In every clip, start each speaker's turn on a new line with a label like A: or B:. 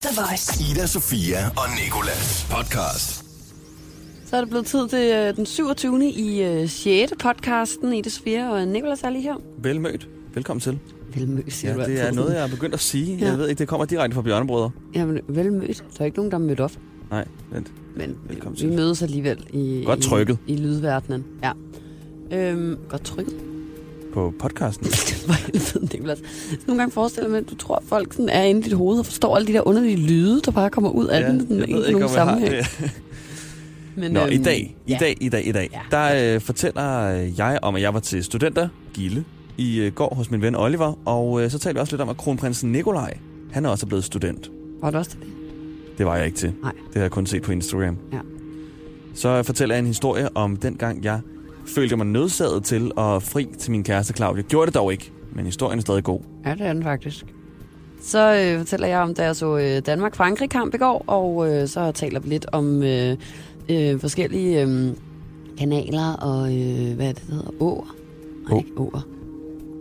A: The Voice.
B: Ida, Sofia og Nikolas podcast.
C: Så er det blevet tid til øh, den 27. i øh, 6. podcasten. Ida Sofia og øh, Nicolas er lige her.
D: Velmødt. Velkommen til.
C: Velmødt, siger
D: Ja,
C: du altid.
D: det er noget, jeg er begyndt at sige.
C: Ja.
D: Jeg ved ikke, det kommer direkte fra Bjørnebrødre.
C: Jamen, velmødt. Der er ikke nogen, der er mødt op,
D: Nej, vent.
C: men
D: Velkommen
C: vi
D: til.
C: mødes alligevel i,
D: Godt trykket.
C: i, i lydverdenen. Ja. Øhm, godt trykket.
D: På podcasten.
C: For helvede, Nicolas. Nogle gange forestiller jeg mig, at du tror, at folk sådan er inde i dit hoved og forstår alle de der underlige lyde, der bare kommer ud af den. sådan
D: jeg
C: ikke
D: ved
C: i
D: ikke,
C: nogen
D: om jeg har
C: sammenhæng.
D: det.
C: Men,
D: Nå, i
C: øhm,
D: dag, i
C: ja.
D: dag, i dag, i dag,
C: Ja.
D: der øh, fortæller øh, jeg om, at jeg var til studentergilde i øh, går hos min ven Oliver, og øh, så talte vi også lidt om, at kronprinsen Nikolaj, han er også blevet student.
C: Var det også til det?
D: Det var jeg ikke til.
C: Nej.
D: Det har jeg kun set på Instagram.
C: Ja.
D: Så fortæller jeg en historie om dengang, jeg følte mig nødsaget til at fri til min kæreste Claudia. Gjorde det dog ikke, men historien er stadig god.
C: Ja, det er den faktisk. Så øh, fortæller jeg om, da jeg så øh, Danmark-Frankrig-kamp i går, og øh, så taler vi lidt om øh, øh, forskellige øh, kanaler og, øh, hvad er det, det hedder, åer? Nej,
D: Å.
C: ikke åer.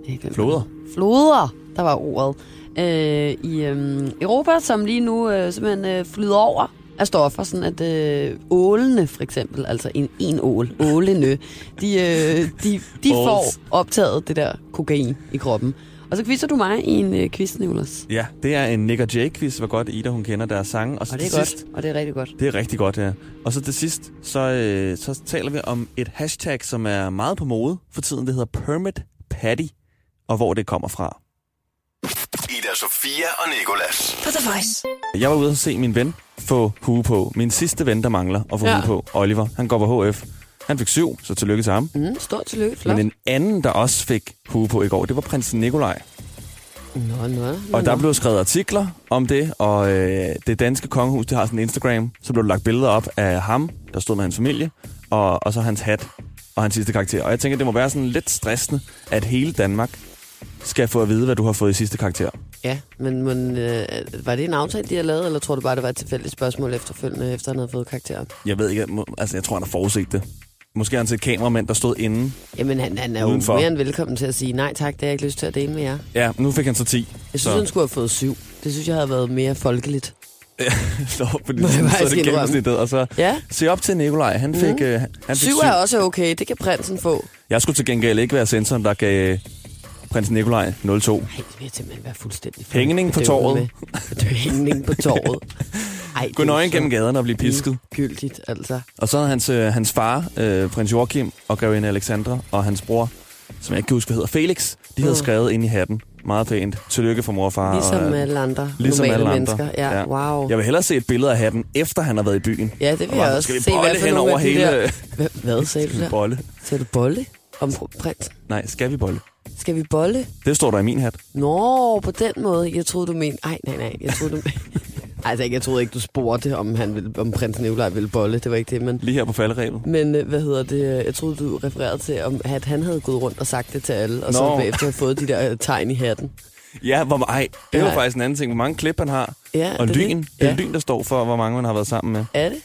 C: Jeg glemte
D: Floder.
C: det. Floder, der var ordet. Øh, I øh, Europa, som lige nu øh, simpelthen øh, flyder over af stoffer, sådan at øh, ålene for eksempel, altså en, en ål, ålene, de, øh, de, de
D: Åls.
C: får optaget det der kokain i kroppen. Og så quizzer du mig i en øh, quiz, Nicolas.
D: Ja, det er en Nick og Jake quiz, hvor godt Ida hun kender deres sange. Og, så
C: Og det er
D: til
C: godt,
D: sidst,
C: og det er rigtig godt.
D: Det er rigtig godt, ja. Og så til sidst, så, øh, så taler vi om et hashtag, som er meget på mode for tiden. Det hedder Permit Patty, og hvor det kommer fra.
B: Ida, Sofia og Nikolas.
A: På The Voice.
D: Jeg var ude og se min ven få hue på. Min sidste ven, der mangler at få
C: Ja.
D: ja. hue på, Oliver. Han går på HF. Han fik syv, så tillykke til ham.
C: Mm, stort tillykke, flot.
D: Men en anden, der også fik hue på i går, det var prins Nikolaj.
C: Nå, nå, nå,
D: Og der
C: nå.
D: blev skrevet artikler om det, og øh, det danske kongehus, det har sådan en Instagram. Så blev der lagt billeder op af ham, der stod med hans familie, og, og så hans hat og hans sidste karakter. Og jeg tænker, det må være sådan lidt stressende, at hele Danmark skal få at vide, hvad du har fået i sidste karakter.
E: Ja, men, men øh, var det en aftale, de har lavet, eller tror du bare, det var et tilfældigt spørgsmål efterfølgende, efter han havde fået karakteren?
D: Jeg ved ikke, må- altså jeg tror, han har forudset det. Måske har han set kameramænd, der stod inde.
E: Jamen, han, han er jo
D: Udenfor.
E: Udenfor. mere end velkommen til at sige, nej tak, det har jeg ikke lyst til at dele med jer.
D: Ja, nu fik han så 10.
E: Jeg synes, så. han skulle have fået syv. Det synes jeg havde været mere folkeligt.
D: Nå, fordi
E: Må jeg
D: så
E: faktisk
D: er det
E: indrømme.
D: gennemsnittet, og så...
E: Ja,
D: Se op til Nikolaj. Han fik, mm. øh, han fik
E: Altså, syv
D: syv.
E: er også okay, det kan prinsen få. Nej,
D: Jeg skulle til gengæld ikke være sensoren, der gav øh, prins Nikolaj 02.
E: det vil jeg simpelthen være fuldstændig
D: Hængning på
E: bedøvet
D: torvet.
E: med. Det er Hængning på torvet. Ej, det
D: Gå
E: er
D: nøgen
E: så
D: gennem gaderne og blive
E: Mm.
D: pisket.
E: ligegyldigt, altså.
D: Og så havde hans, øh, hans far, øh, prins Joachim og grevinde Alexandra, og hans bror, som jeg ikke kan huske, hvad hedder Felix, de havde
E: Mm.
D: skrevet ind i hatten. Meget pænt. Tillykke for mor og far.
E: Ligesom
D: og,
E: alle andre
D: Ah, ligesom
E: normale
D: alle andre.
E: mennesker. Ja,
D: Ja.
E: ja, wow.
D: Jeg vil hellere se et billede af hatten, efter han har været i byen.
E: Ja, det vil jeg også se.
D: se.
E: Hvad
D: Bolle
E: for
D: hen
E: nogle
D: over
E: af de
D: hele...
E: der- Hva- Hvad sagde du der?
D: bolle.
E: Sagde du bolle om pr- prinsen?
D: Nej, skal vi bolle?
E: Skal vi bolle?
D: Det står der i min hat.
E: Nå, på den måde. Jeg troede, du mente... Ej, nej, nej. Jeg troede, du... altså, jeg troede ikke, du spurgte, om, han ville, om prins Nikolaj ville bolle. Det var ikke det, men...
D: Lige her på falderæbet.
E: Men øh, hvad hedder det? Jeg troede, du refererede til, om, at han havde gået rundt og sagt det til alle, og
D: Nå.
E: så bagefter havde fået de der øh, tegn i hatten.
D: Ja, hvor, ej, det er jo
E: Nej.
D: faktisk en anden ting. Hvor mange klip han har.
E: Ja,
D: og
E: det er det.
D: lyn. Det er
E: Ja.
D: lyn, der står for, hvor mange man har været sammen med.
E: Er det?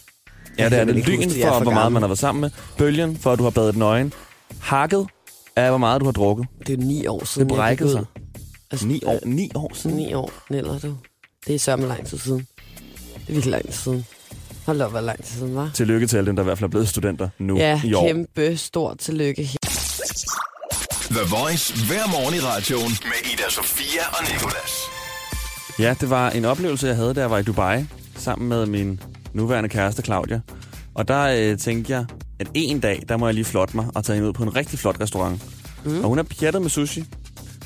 D: Ja, det er
E: kan
D: det.
E: vel ikke
D: Lyn
E: huske det. Jeg er
D: for,
E: for
D: hvor meget
E: gammel.
D: man har været sammen med. Bølgen for, at du har badet nøgen. Hakket af, hvor meget du har drukket.
E: Det er ni år
D: Det
E: siden. jeg gik
D: brækkede
E: ud.
D: sig.
E: Altså,
D: Ni år, ni år siden.
E: Ni år, Neller, du. Det er sørme lang tid siden. Det er virkelig lang tid siden. Hold op, hvor lang tid siden, var.
D: Tillykke til alle dem, der i hvert fald er blevet studenter nu
E: Ja,
D: i år.
E: kæmpe stort tillykke
B: The Voice hver morgen i radioen med Ida, Sofia og Nikolas.
D: Ja, det var en oplevelse, jeg havde, da jeg var i Dubai, sammen med min nuværende kæreste Claudia. Og der øh, tænkte jeg, at en dag, der må jeg lige flotte mig og tage hende ud på en rigtig flot restaurant. Mm. Og hun er pjattet med sushi.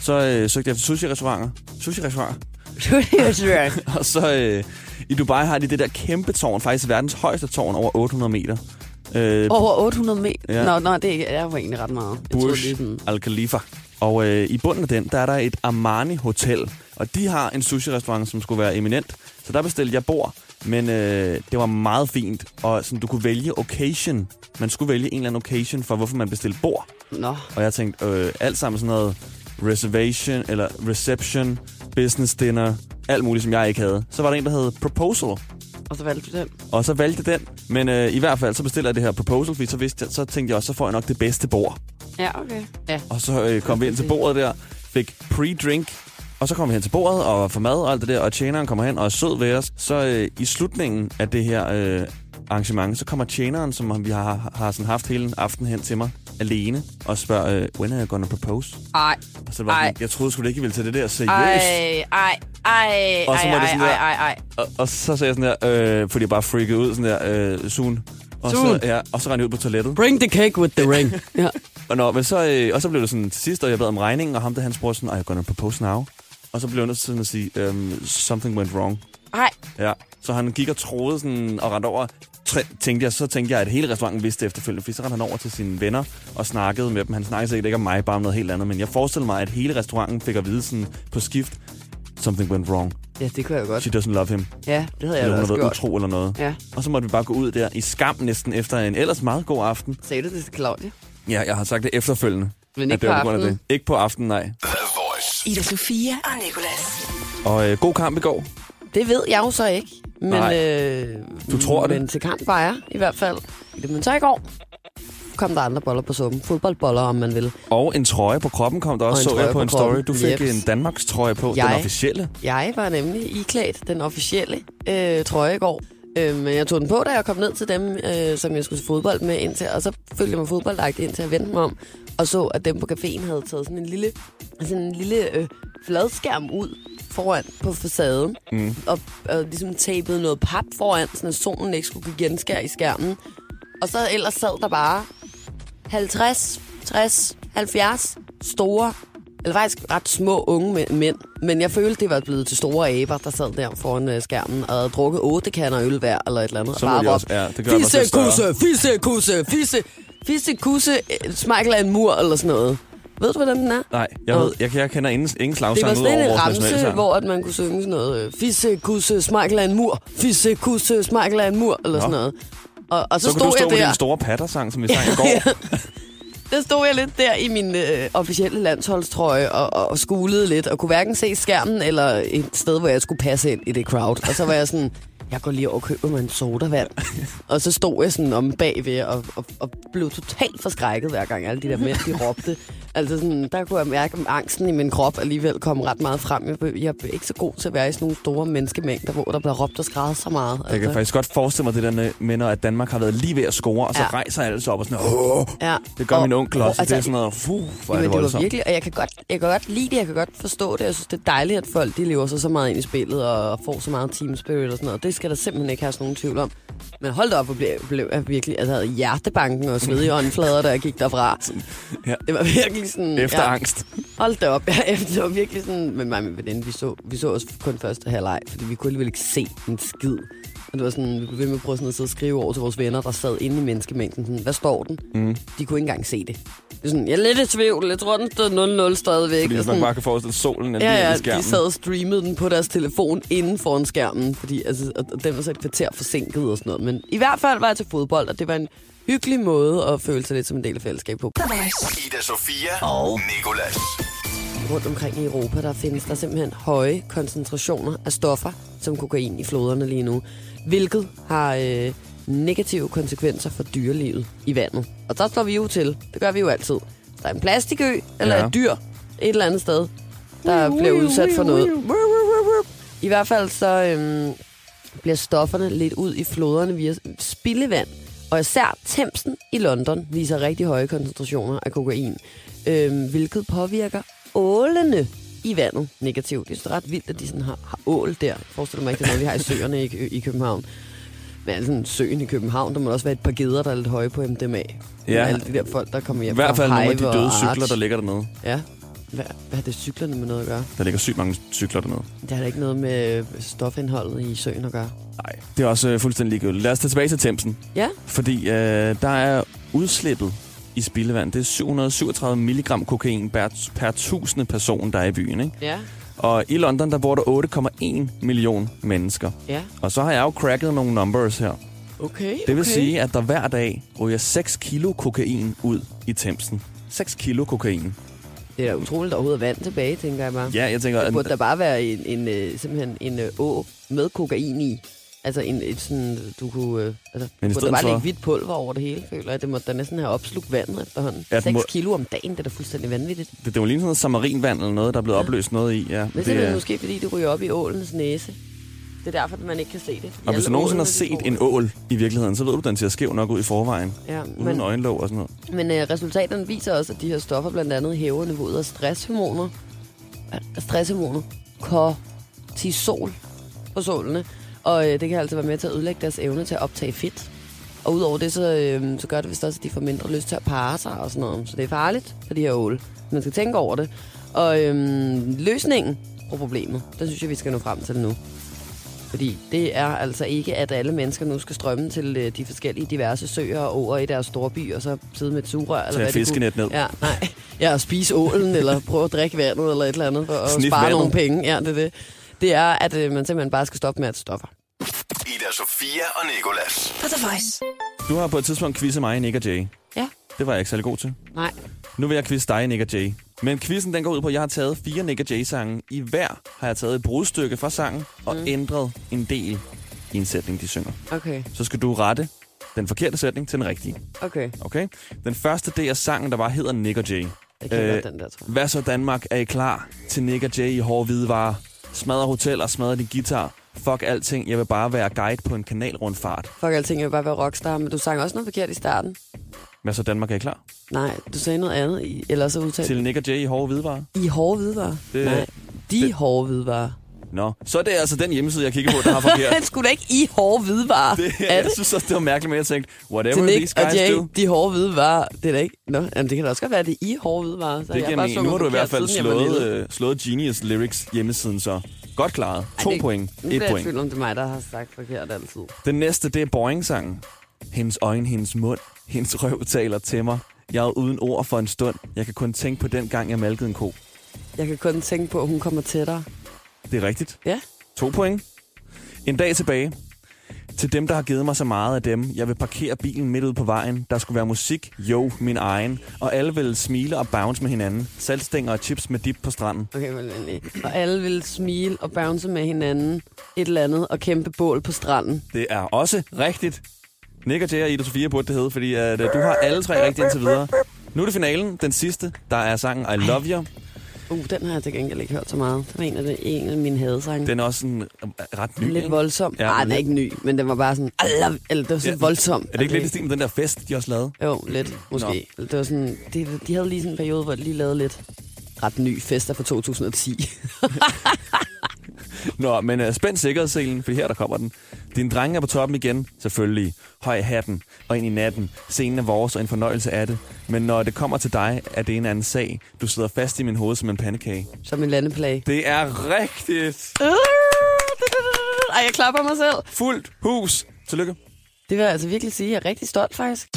D: Så øh, søgte jeg efter sushi-restauranter. Sushi-restauranter.
E: her.
D: Og så øh, i Dubai har de det der kæmpe tårn, faktisk verdens højeste tårn over 800 meter. Øh,
C: Over 800 meter?
D: Ja.
C: Ja. Nå, nå, det er ikke- det var egentlig ret meget. Jeg troede, det er
D: Burj
C: sådan-
D: Al Khalifa. Og øh, i bunden af den, der er der et Armani Hotel. Og de har en sushi-restaurant, som skulle være eminent. Så der bestilte jeg bord, men øh, det var meget fint. Og sådan, du kunne vælge occasion. Man skulle vælge en eller anden occasion for, hvorfor man bestilte bord.
C: Nå,
D: Og jeg tænkte, øh, alt sammen sådan noget reservation, eller reception, business dinner, alt muligt, som jeg ikke havde. Så var der en, der hed proposal.
C: og så valgte du den.
D: Og så valgte jeg den, men øh, i hvert fald så bestiller jeg det her proposal, fordi så, vidste jeg, så tænkte jeg også, så får jeg nok det bedste bord.
C: Ja, okay. Ja.
D: Og så øh, kom vi ind til bordet der, fik pre-drink, Og så kommer vi hen til bordet og får mad og alt det der, og tjeneren kommer hen og er sød ved os. Så øh, i slutningen af det her øh, arrangement, så kommer tjeneren, som vi har, har sådan haft hele aften hen til mig, alene og spørger, øh, when are you gonna propose?
C: Ej,
D: Og så var jeg
C: Ej.
D: sådan, jeg troede sgu da ikke, I ville tage det der seriøst.
C: ej, ej, ej,
D: Og så var det
C: ej,
D: sådan
C: ej,
D: der-
C: ej, ej.
D: Og, og så sagde jeg sådan der, øh, fordi jeg bare freakede ud, sådan der, øh, soon. Og
C: Soon.
D: så, ja, og så rendte jeg ud på toilettet.
E: Bring the cake with the ring.
C: Ja.
D: Og, nå, men så, øh, og så blev det sådan til sidst, og jeg bad om regningen, og ham der han spurgte sådan, jeg går på propose now. Og så blev jeg nødt til sådan at sige, øhm, something went wrong.
C: Ej,
D: Ja. Så han gik og troede sådan, og rendte over. Tr- tænkte jeg, så tænkte jeg, at hele restauranten vidste det efterfølgende, fordi så rendte han over til sine venner og snakkede med dem. Han snakkede sikkert ikke om mig, bare om noget helt andet, men jeg forestillede mig, at hele restauranten fik at vide sådan på skift, something went wrong.
C: ja, det kunne jeg godt.
D: She doesn't love him.
C: Ja, det havde jeg da
D: Eller hun har
C: også
D: været
C: gjort.
D: utro eller noget.
C: Ja.
D: Og så måtte vi bare gå ud der i skam næsten efter en ellers meget god aften.
C: Sagde du det til Claudia?
D: Ja, jeg har sagt det efterfølgende.
C: Men ikke
D: at det var
C: på
D: på grund af
C: aftenen?
D: Det. Ikke på aftenen, nej.
B: The Voice.
A: Ida Sofia og Nicolas.
D: Og øh, god kamp i går.
C: Det ved jeg jo så ikke. Men,
D: Nej.
C: øh,
D: Du tror det?
C: Men til kamp var jeg i hvert fald. Men så i går kom der andre boller på suppen. Fodboldboller, om man vil.
D: Og en trøje på kroppen kom der
C: Og en
D: også, så
C: trøje
D: jeg på
C: på
D: en story.
C: kroppen,
D: Du fik
C: jeps.
D: en Danmarks trøje på,
C: Jeg?
D: den officielle.
C: Jeg var nemlig iklædt den officielle øh, trøje i går. Øh, men jeg tog den på, da jeg kom ned til dem, øh, som jeg skulle til fodbold med indtil, og så følte jeg mig fodboldagtig indtil jeg vendte mig om, og så, at dem på caféen havde taget sådan en lille, sådan en lille øh, fladskærm ud foran på facaden, mm. og, og ligesom tapede noget pap foran, sådan at solen ikke skulle kunne genskære i skærmen. Og så ellers sad der bare 50, 60, 70 store, eller faktisk ret små unge mæ- mænd. Men jeg følte, det var blevet til store aber, der sad der foran øh, skærmen og havde drukket otte kander øl hver, eller et eller andet.
D: Så
C: og
D: må
C: bare
D: de også,
C: råbte,
D: ja, det gør
C: Fisse,
D: mig
C: kusse, fisse, kusse, fisse, fisse, kusse, øh, smeichel er en mur, eller sådan noget. Ved du, hvordan den er?
D: Nej, jeg,
C: Nå.
D: ved, jeg, jeg kender ingen, ingen
C: Det var
D: slagsang ud
C: sådan
D: over
C: en
D: vores
C: ramse,
D: nationalsang.
C: hvor at man kunne synge sådan noget, øh, fisse, kusse, smeichel er en mur, fisse, kusse, smeichel er en mur, eller
D: Nå.
C: sådan noget. Og, og så,
D: så
C: stod
D: kunne du stå
C: jeg
D: med
C: der.
D: din store pattersang, som vi sang i går.
C: der stod jeg lidt der i min øh, officielle landsholdstrøje og, og, og skulede lidt, og kunne hverken se skærmen eller et sted, hvor jeg skulle passe ind i det crowd. Og så var jeg sådan, jeg går lige over og køber mig en sodavand. og så stod jeg sådan om bagved og, og, og blev totalt forskrækket hver gang alle de der mænd, de råbte. Altså sådan, der kunne jeg mærke, at angsten i min krop alligevel kom ret meget frem. Jeg, blev- jeg er ikke så god til at være i sådan nogle store menneskemængder, hvor der bliver råbt og skrevet så meget. altså.
D: Jeg kan faktisk godt forestille mig det der med- med, når at Danmark har været lige ved at score, og så
C: Ja.
D: rejser alle sig op og sådan, Åh!
C: ja.
D: det gør
C: Og-
D: min onkel
C: og- altså,
D: også. og det er sådan noget, fuh, hvor er
C: Jamen,
D: det
C: det var
D: voldsomt.
C: virkelig, og jeg kan, godt, jeg kan godt lide det, jeg kan godt forstå det. Jeg synes, det er dejligt, at folk de lever sig så meget ind i spillet og får så meget team spirit og sådan noget. Det skal der simpelthen ikke have nogen tvivl om. Men hold da op, hvor blev, blev jeg virkelig, altså jeg havde hjertebanken og svedige åndflader, da jeg gik derfra.
D: ja.
C: Det var virkelig sådan...
D: Efter
C: ja,
D: angst.
C: Hold da op, ja, det var virkelig sådan... Men mig med veninde, vi så, vi så også kun første halvleg, fordi vi kunne alligevel ikke se en skid. Og det var sådan, vi blev ved med at prøve sådan at sidde og skrive over til vores venner, der sad inde i menneskemængden. Sådan, hvad står den? Mm. De kunne ikke engang se det. det er sådan, jeg er lidt i tvivl, jeg tror, den stod 0-0 stadigvæk.
D: Fordi
C: Og
D: jeg
C: sådan,
D: nok bare kan forestille solen er lige
C: Ja,
D: ja,
C: ja,
D: i skærmen.
C: de sad og streamede den på deres telefon inden foran skærmen, fordi altså, og og den var så et kvarter forsinket og sådan noget. Men i hvert fald var jeg til fodbold, og det var en hyggelig måde at føle sig lidt som en del af fællesskabet på.
A: The Voice.
B: Ida Sofia og Nicolas.
C: Rundt omkring i Europa, der findes der simpelthen høje koncentrationer af stoffer, som kokain i floderne lige nu, hvilket har øh, negative konsekvenser for dyrelivet i vandet. Og der står vi jo til. Det gør vi jo altid. Der er en plastikø, eller
D: Ja.
C: ja. et dyr, et eller andet sted, der bliver udsat for noget. I hvert fald så øhm, bliver stofferne lidt ud i floderne via spildevand. Og især Thamesen i London viser rigtig høje koncentrationer af kokain, øhm, hvilket påvirker ålene i vandet negativt. Det er sådan ret vildt, at de sådan har, har ål der. Jeg forestiller mig ikke, det er noget, vi har i søerne i, i København. Men altså, søen i København, der må der også være et par geder, der er lidt høje på MDMA.
D: Ja.
C: Ja. Alle de der folk, der kommer
D: I
C: hjem
D: hvert
C: fra
D: fald nogle af de
C: Hive og
D: døde
C: Arch.
D: cykler, der ligger dernede.
C: Ja. Hvad, hvad har det cyklerne med noget at gøre?
D: Der ligger sygt mange cykler dernede.
C: Det har da ikke noget med stofindholdet i søen at gøre.
D: Nej, det er også øh, fuldstændig ligegyldigt. Lad os tage tilbage til Thamesen,
C: Ja,
D: fordi øh, der er udslippet i spildevand. Det er 737 milligram kokain per, per tusinde person, der er i byen. Ikke?
C: ja,
D: Og i London, der bor der 8,1 million mennesker.
C: ja.
D: Og så har jeg jo cracket nogle numbers her. Okay.
C: Okay,
D: Det vil sige, at der hver dag ryger 6 kilo kokain ud i Thamesen. 6 kilo kokain.
C: Det er da utroligt, der overhovedet er vand tilbage, tænker jeg bare.
D: Ja, jeg tænker...
C: Der
D: at-
C: burde der bare være en, en, øh, simpelthen en øh, å med kokain i. Altså, en, et sådan, du kunne... Øh, altså,
D: Men i
C: Men kunne
D: stedet
C: der bare
D: for-
C: lægge hvidt pulver over det hele, føler jeg. Det må da næsten have opslugt vandet efterhånden.
D: Ja, den
C: 6
D: må-
C: kilo om dagen, det er da fuldstændig vanvittigt.
D: Det, det var lige sådan noget samarinvand eller noget, der er blevet ja. opløst noget i. Ja,
C: Men det er måske, fordi det ryger op i ålens næse. Det er derfor, at man ikke kan se det.
D: Og hvis du nogensinde har set en ål i virkeligheden, så ved du, den ser skæv nok ud i forvejen.
C: Ja,
D: Uden
C: men-
D: øjenlåg og sådan noget.
C: Men øh, resultaterne viser også, at de her stoffer blandt andet hæver niveauet af stresshormoner. af Stresshormoner. Kortisol på solene. Og øh, det kan altså være med til at ødelægge deres evne til at optage fedt. Og udover det, så, øh, så gør det vist også, at de får mindre lyst til at parre sig og sådan noget. Så det er farligt for de her åle. Man skal tænke over det. Og øh, løsningen på problemet, den synes jeg, vi skal nå frem til nu. Fordi det er altså ikke, at alle mennesker nu skal strømme til øh, de forskellige diverse søer og åer i deres store by, og så sidde med et sugerør. Eller
D: Tage
C: hvad de
D: fiskenet
C: kunne.
D: ned.
C: Ja, nej. Ja, og spise ålen, eller prøve at drikke vandet, eller et eller andet, for at
D: Snif
C: spare
D: vandet.
C: nogle penge. Ja, det er det. Det er, at øh, man simpelthen bare skal stoppe med at stoffer.
B: Ida Sofia og Nikolas.
F: På The Voice.
D: Du har på et tidspunkt quizet mig, Nick og Jay.
C: Ja,
D: Det var jeg ikke særlig god til.
C: nej.
D: Nu vil jeg quizze dig, Nick og Jay. Men quizzen den går ud på, at jeg har taget fire Nick og Jay-sange. I hver har jeg taget et brudstykke fra sangen og mm. ændret en del i en sætning, de synger.
C: Okay,
D: Så skal du rette den forkerte sætning til den rigtige.
C: okay.
D: Okay? Den første del af sangen, der bare hedder Nick og Jay.
C: Jeg
D: Øh.
C: kan godt den der, tror jeg.
D: Hvad så Danmark? Er I klar til Nick og Jay i hårde hvidevarer? Smadrer hoteller, smadrer din guitar. Fuck alting, jeg vil bare være guide på en kanalrundfart.
C: Fuck, alting, jeg vil bare være rockstar, men du sang også noget forkert i starten.
D: Hvad så Danmark? Er I klar?
C: Nej, du sagde noget andet, i- eller så udtalte
D: Til Nick og Jay i hårde hvidevarer?
C: I hårde hvidvarer?
D: Det-
C: Nej, de
D: det-
C: hårde hvidvarer.
D: Nå, så er det altså den hjemmeside, jeg kigger på, der har forkert.
C: Han skulle da ikke i hårde hvidvarer.
D: Det,
C: er
D: jeg
C: det?
D: synes også, det var mærkeligt, men jeg tænkte,
C: Til
D: whatever these
C: Nick og
D: guys
C: Jay,
D: do.
C: de hårde hvidvarer. Det er da ikke... Nå, jamen, det kan da også godt være, at det er i hårde hvidvarer. Så
D: Det
C: jeg
D: giver
C: bare
D: mening.
C: sunget
D: Nu har du i hvert
C: forkert,
D: fald
C: siden jeg var
D: slået,
C: lille.
D: øh, slået Genius Lyrics hjemmesiden, så godt klaret.
C: Ej,
D: To
C: det-
D: point.
C: Nu
D: Et
C: bliver jeg i
D: point.
C: tvivl om, det er mig, der har sagt forkert altid.
D: Den næste, det er Boring-sangen. Hendes øjne, hendes mund, hendes røv taler til mig. Jeg er uden ord for en stund. Jeg kan kun tænke på den gang, jeg malkede en ko.
C: Jeg kan kun tænke på, at hun kommer tættere.
D: Det er rigtigt.
C: Ja,
D: To point. En dag tilbage. Til dem, der har givet mig så meget af dem. Jeg vil parkere bilen midt ude på vejen. Der skulle være musik, jo, min egen. Og alle ville smile og bounce med hinanden. Saltstænger og chips med dip på stranden.
C: okay, vel endelig. Og alle vil smile og bounce med hinanden et eller andet og kæmpe bål på stranden.
D: Det er også rigtigt. Nick og Jay og Ida Sofia burde det hedde, fordi at, øh, du har alle tre rigtigt indtil videre. Nu er det finalen, den sidste. Der er sangen I Love You.
C: Uh, den har jeg til gengæld ikke hørt så meget. Det var en af, de, en af mine hadesange.
D: Den er også sådan øh, ret ny.
C: Lidt
D: ikke?
C: voldsom.
D: Ja,
C: Ja, Ej,
D: men
C: den er
D: lidt-
C: ikke ny, men den var bare sådan... "I love-" Eller det var sådan
D: Ja,
C: ja, voldsom.
D: Er det ikke lidt i stil med den der fest, de også lavede?
C: Jo, lidt, måske. Nå. Det var sådan, de, de havde lige sådan en periode, hvor de lige lavede lidt ret ny fester fra 2010.
D: Nå, men uh, spænd sikkerhedsselen, for her der kommer den. Din dreng er på toppen igen, selvfølgelig. Høj i hatten og ind i natten. Scenen er vores og en fornøjelse af det. Men når det kommer til dig, er det en anden sag. Du sidder fast i min hoved som en pandekage.
C: som en landeplage.
D: Det er rigtigt. Ah!
C: Ej, jeg klapper mig selv.
D: Fuldt hus. Tillykke.
C: Det vil jeg altså virkelig sige, jeg er rigtig stolt faktisk.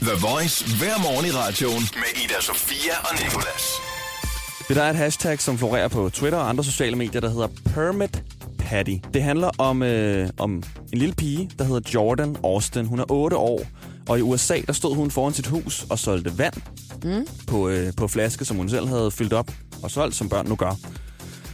B: The Voice hver morgen i radioen med Ida Sofia og Nikolas.
D: Det der er et hashtag, som florerer på Twitter og andre sociale medier, der hedder Permit Patty. Det handler om, øh, om en lille pige, der hedder Jordan Austin. Hun er 8 år, og i USA, der stod hun foran sit hus og solgte vand mm. på, øh, på flaske, som hun selv havde fyldt op og solgt, som børn nu gør.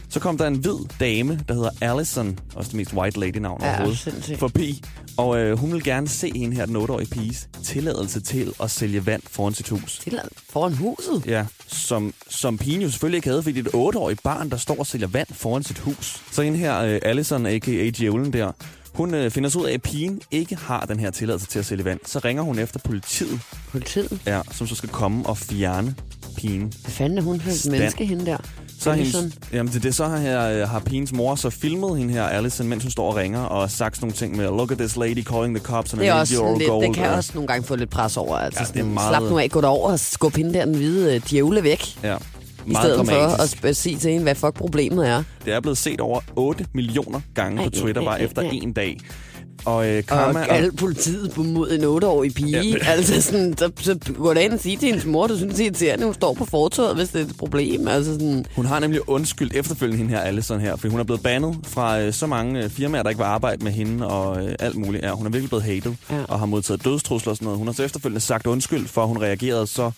D: Så kom der en hvid dame, der hedder Allison, også det mest white lady navn
C: Ja,
D: overhovedet,
C: sindssygt.
D: forbi. Og øh, hun vil gerne se en her, den 8-årige piges, tilladelse til at sælge vand foran sit hus.
C: Det er lavet foran huset.
D: Ja, som, som pigen jo selvfølgelig ikke havde, fordi det er et 8-årigt barn, der står og sælger vand foran sit hus. Så en her, øh, Allison, a.k.a. Djævlen der, hun øh, finder så ud af, at pigen ikke har den her tilladelse til at sælge vand. Så ringer hun efter politiet,
C: Politiet.
D: ja, som så skal komme og fjerne pigen.
C: Hvad fanden er hun for et
D: Stand.
C: menneske hende der?
D: Så er
C: Allison.
D: hendes, jamen det, er det så har, her, øh, har pigens mor så filmet hende her, Allison, mens hun står og ringer, og sagt sådan nogle ting med, look at this lady calling the cops and
C: Det er
D: an
C: også sådan
D: eight-year-old
C: lidt,
D: gold.
C: det kan
D: og-
C: også nogle gange få lidt pres over. Altså,
D: Ja,
C: ja,
D: det er
C: sådan,
D: meget-
C: Slap nu af, gå derover og skub hende der den hvide øh, djævle væk.
D: Ja,
C: I
D: meget
C: stedet
D: dramatisk.
C: for at sp- sige til hende, hvad fuck problemet er.
D: Det er blevet set over 8 millioner gange
C: Ej,
D: på Twitter
C: ej,
D: bare
C: ej,
D: efter
C: ej.
D: en dag. Og øh,
C: Og
D: Karma og,
C: alle politiet på mod en 8-årig pige.
D: Ja,
C: Ja,
D: men-
C: altså sådan, så, så gå da ind og sige til hendes mor, du synes, det er irriterende, hun står på fortorvet, hvis det er et problem. Altså sådan,
D: hun har nemlig undskyldt efterfølgende hende her, Allison her, fordi hun er blevet bandet fra øh, så mange øh, firmaer, der ikke vil arbejde med hende og øh, alt muligt. Ja, hun er virkelig blevet hated
C: Ja.
D: og har modtaget dødstrusler og sådan noget. Hun har så efterfølgende sagt undskyld for, at hun reagerede så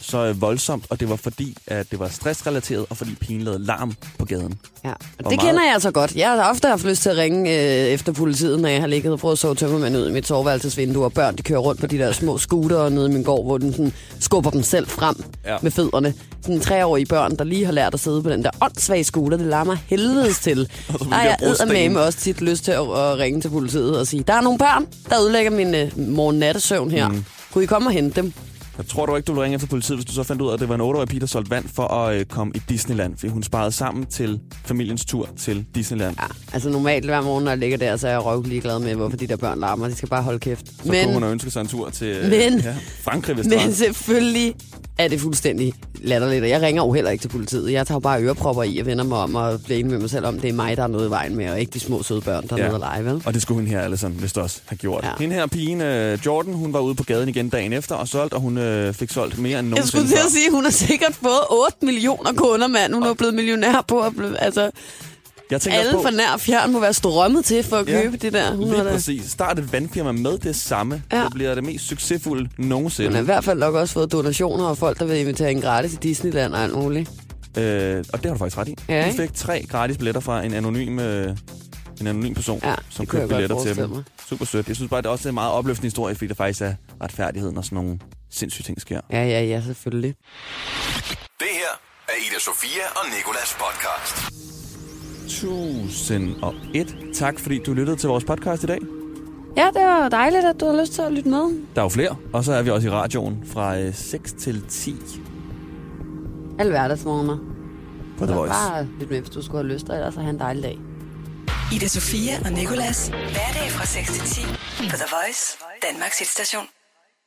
D: så øh, voldsomt, og det var fordi, at det var stressrelateret, og fordi pigen lavede larm på gaden.
C: Ja.
D: Hvor
C: Og det
D: meget-
C: kender jeg altså godt. Jeg har ofte haft lyst til at ringe øh, efter politiet, når jeg har ligget og prøvet at sove tømmermænd ud i mit soveværelsesvindue, og børn de kører rundt på de der små scootere nede i min gård, hvor den sådan, skubber dem selv frem
D: Ja.
C: ja. med fødderne. Sådan treårige børn, der lige har lært at sidde på den der åndssvage scooter, det larmer helvedes til.
D: så
C: Der
D: bliver
C: er
D: de der
C: jeg
D: brosten.
C: med også tit lyst til at, at ringe til politiet og sige, der er nogle børn, der ødelægger min øh, morgen-nattesøvn her. Mm. Kunne I komme og hente dem?
D: Jeg tror du ikke, du ville ringe efter politiet, hvis du så fandt ud af, at det var en 8-årig pige, der solgte vand for at øh, komme i Disneyland, fordi hun sparede sammen til familiens tur til Disneyland.
C: Ja, altså normalt hver morgen, når jeg ligger der, så er jeg røv ligeglad med, hvorfor de der børn larmer. De skal bare holde kæft.
D: Så men, kunne hun have ønsket sig en tur til øh,
C: Men-
D: ja, Frankrig, hvis det
C: Men
D: var.
C: selvfølgelig er det fuldstændig latterligt, og jeg ringer jo heller ikke til politiet. Jeg tager jo bare ørepropper i og vender mig om og bliver enig med mig selv om, det er mig, der er noget i vejen med, og ikke de små søde børn, der ja. er nede og lege, vel?
D: Og det skulle hun her Allison vist også have gjort. Ja.
C: Ja.
D: Hende her pigen, øh, Jordan, hun var ude på gaden igen dagen efter og solgte, og hun øh, fik solgt mere end
C: Jeg skulle
D: nogensinde
C: til
D: før.
C: at sige, at hun har sikkert fået 8 millioner kunder, mand. Hun er blevet millionær på. Og blev, altså,
D: Jeg tænker
C: alle
D: på,
C: fra nær og fjern må være strømmet til for at
D: Ja,
C: købe det der. Hun
D: Lige
C: er, da,
D: præcis. Start et vandfirma med det samme. Ja.
C: Ja.
D: Det bliver det mest succesfulde
C: hun
D: nogensinde.
C: har i hvert fald nok også fået donationer og folk, der vil invitere hende gratis i Disneyland og alt muligt.
D: Øh, og det har du faktisk ret i.
C: Ja,
D: hun
C: ikke?
D: fik tre gratis billetter fra en anonym, øh, en anonym person,
C: Ja,
D: som
C: det kunne
D: købte
C: jeg godt
D: billetter til
C: forestille
D: dem.
C: mig.
D: Super sødt. Jeg synes bare, det er også en meget opløftende historie, fordi der faktisk er retfærdighed, når sådan nogle sindssyge ting sker.
C: Ja, ja, ja, selvfølgelig.
B: Det her er Ida Sofia og Nikolas podcast.
D: 1001. Tak, fordi du lyttede til vores podcast i dag.
C: Ja, det var dejligt, at du har lyst til at lytte med.
D: Der er jo flere, og så er vi også i radioen fra øh, 6 til 10
C: Alle hverdagsmorgener.
D: på The
C: Så
D: Voice.
C: bare lidt med, hvis du skulle have lyst, og ellers have en dejlig dag.
A: Ida Sofia og Nikolas. Hverdag fra 6 til 10 på The Voice, Danmarks hitstation.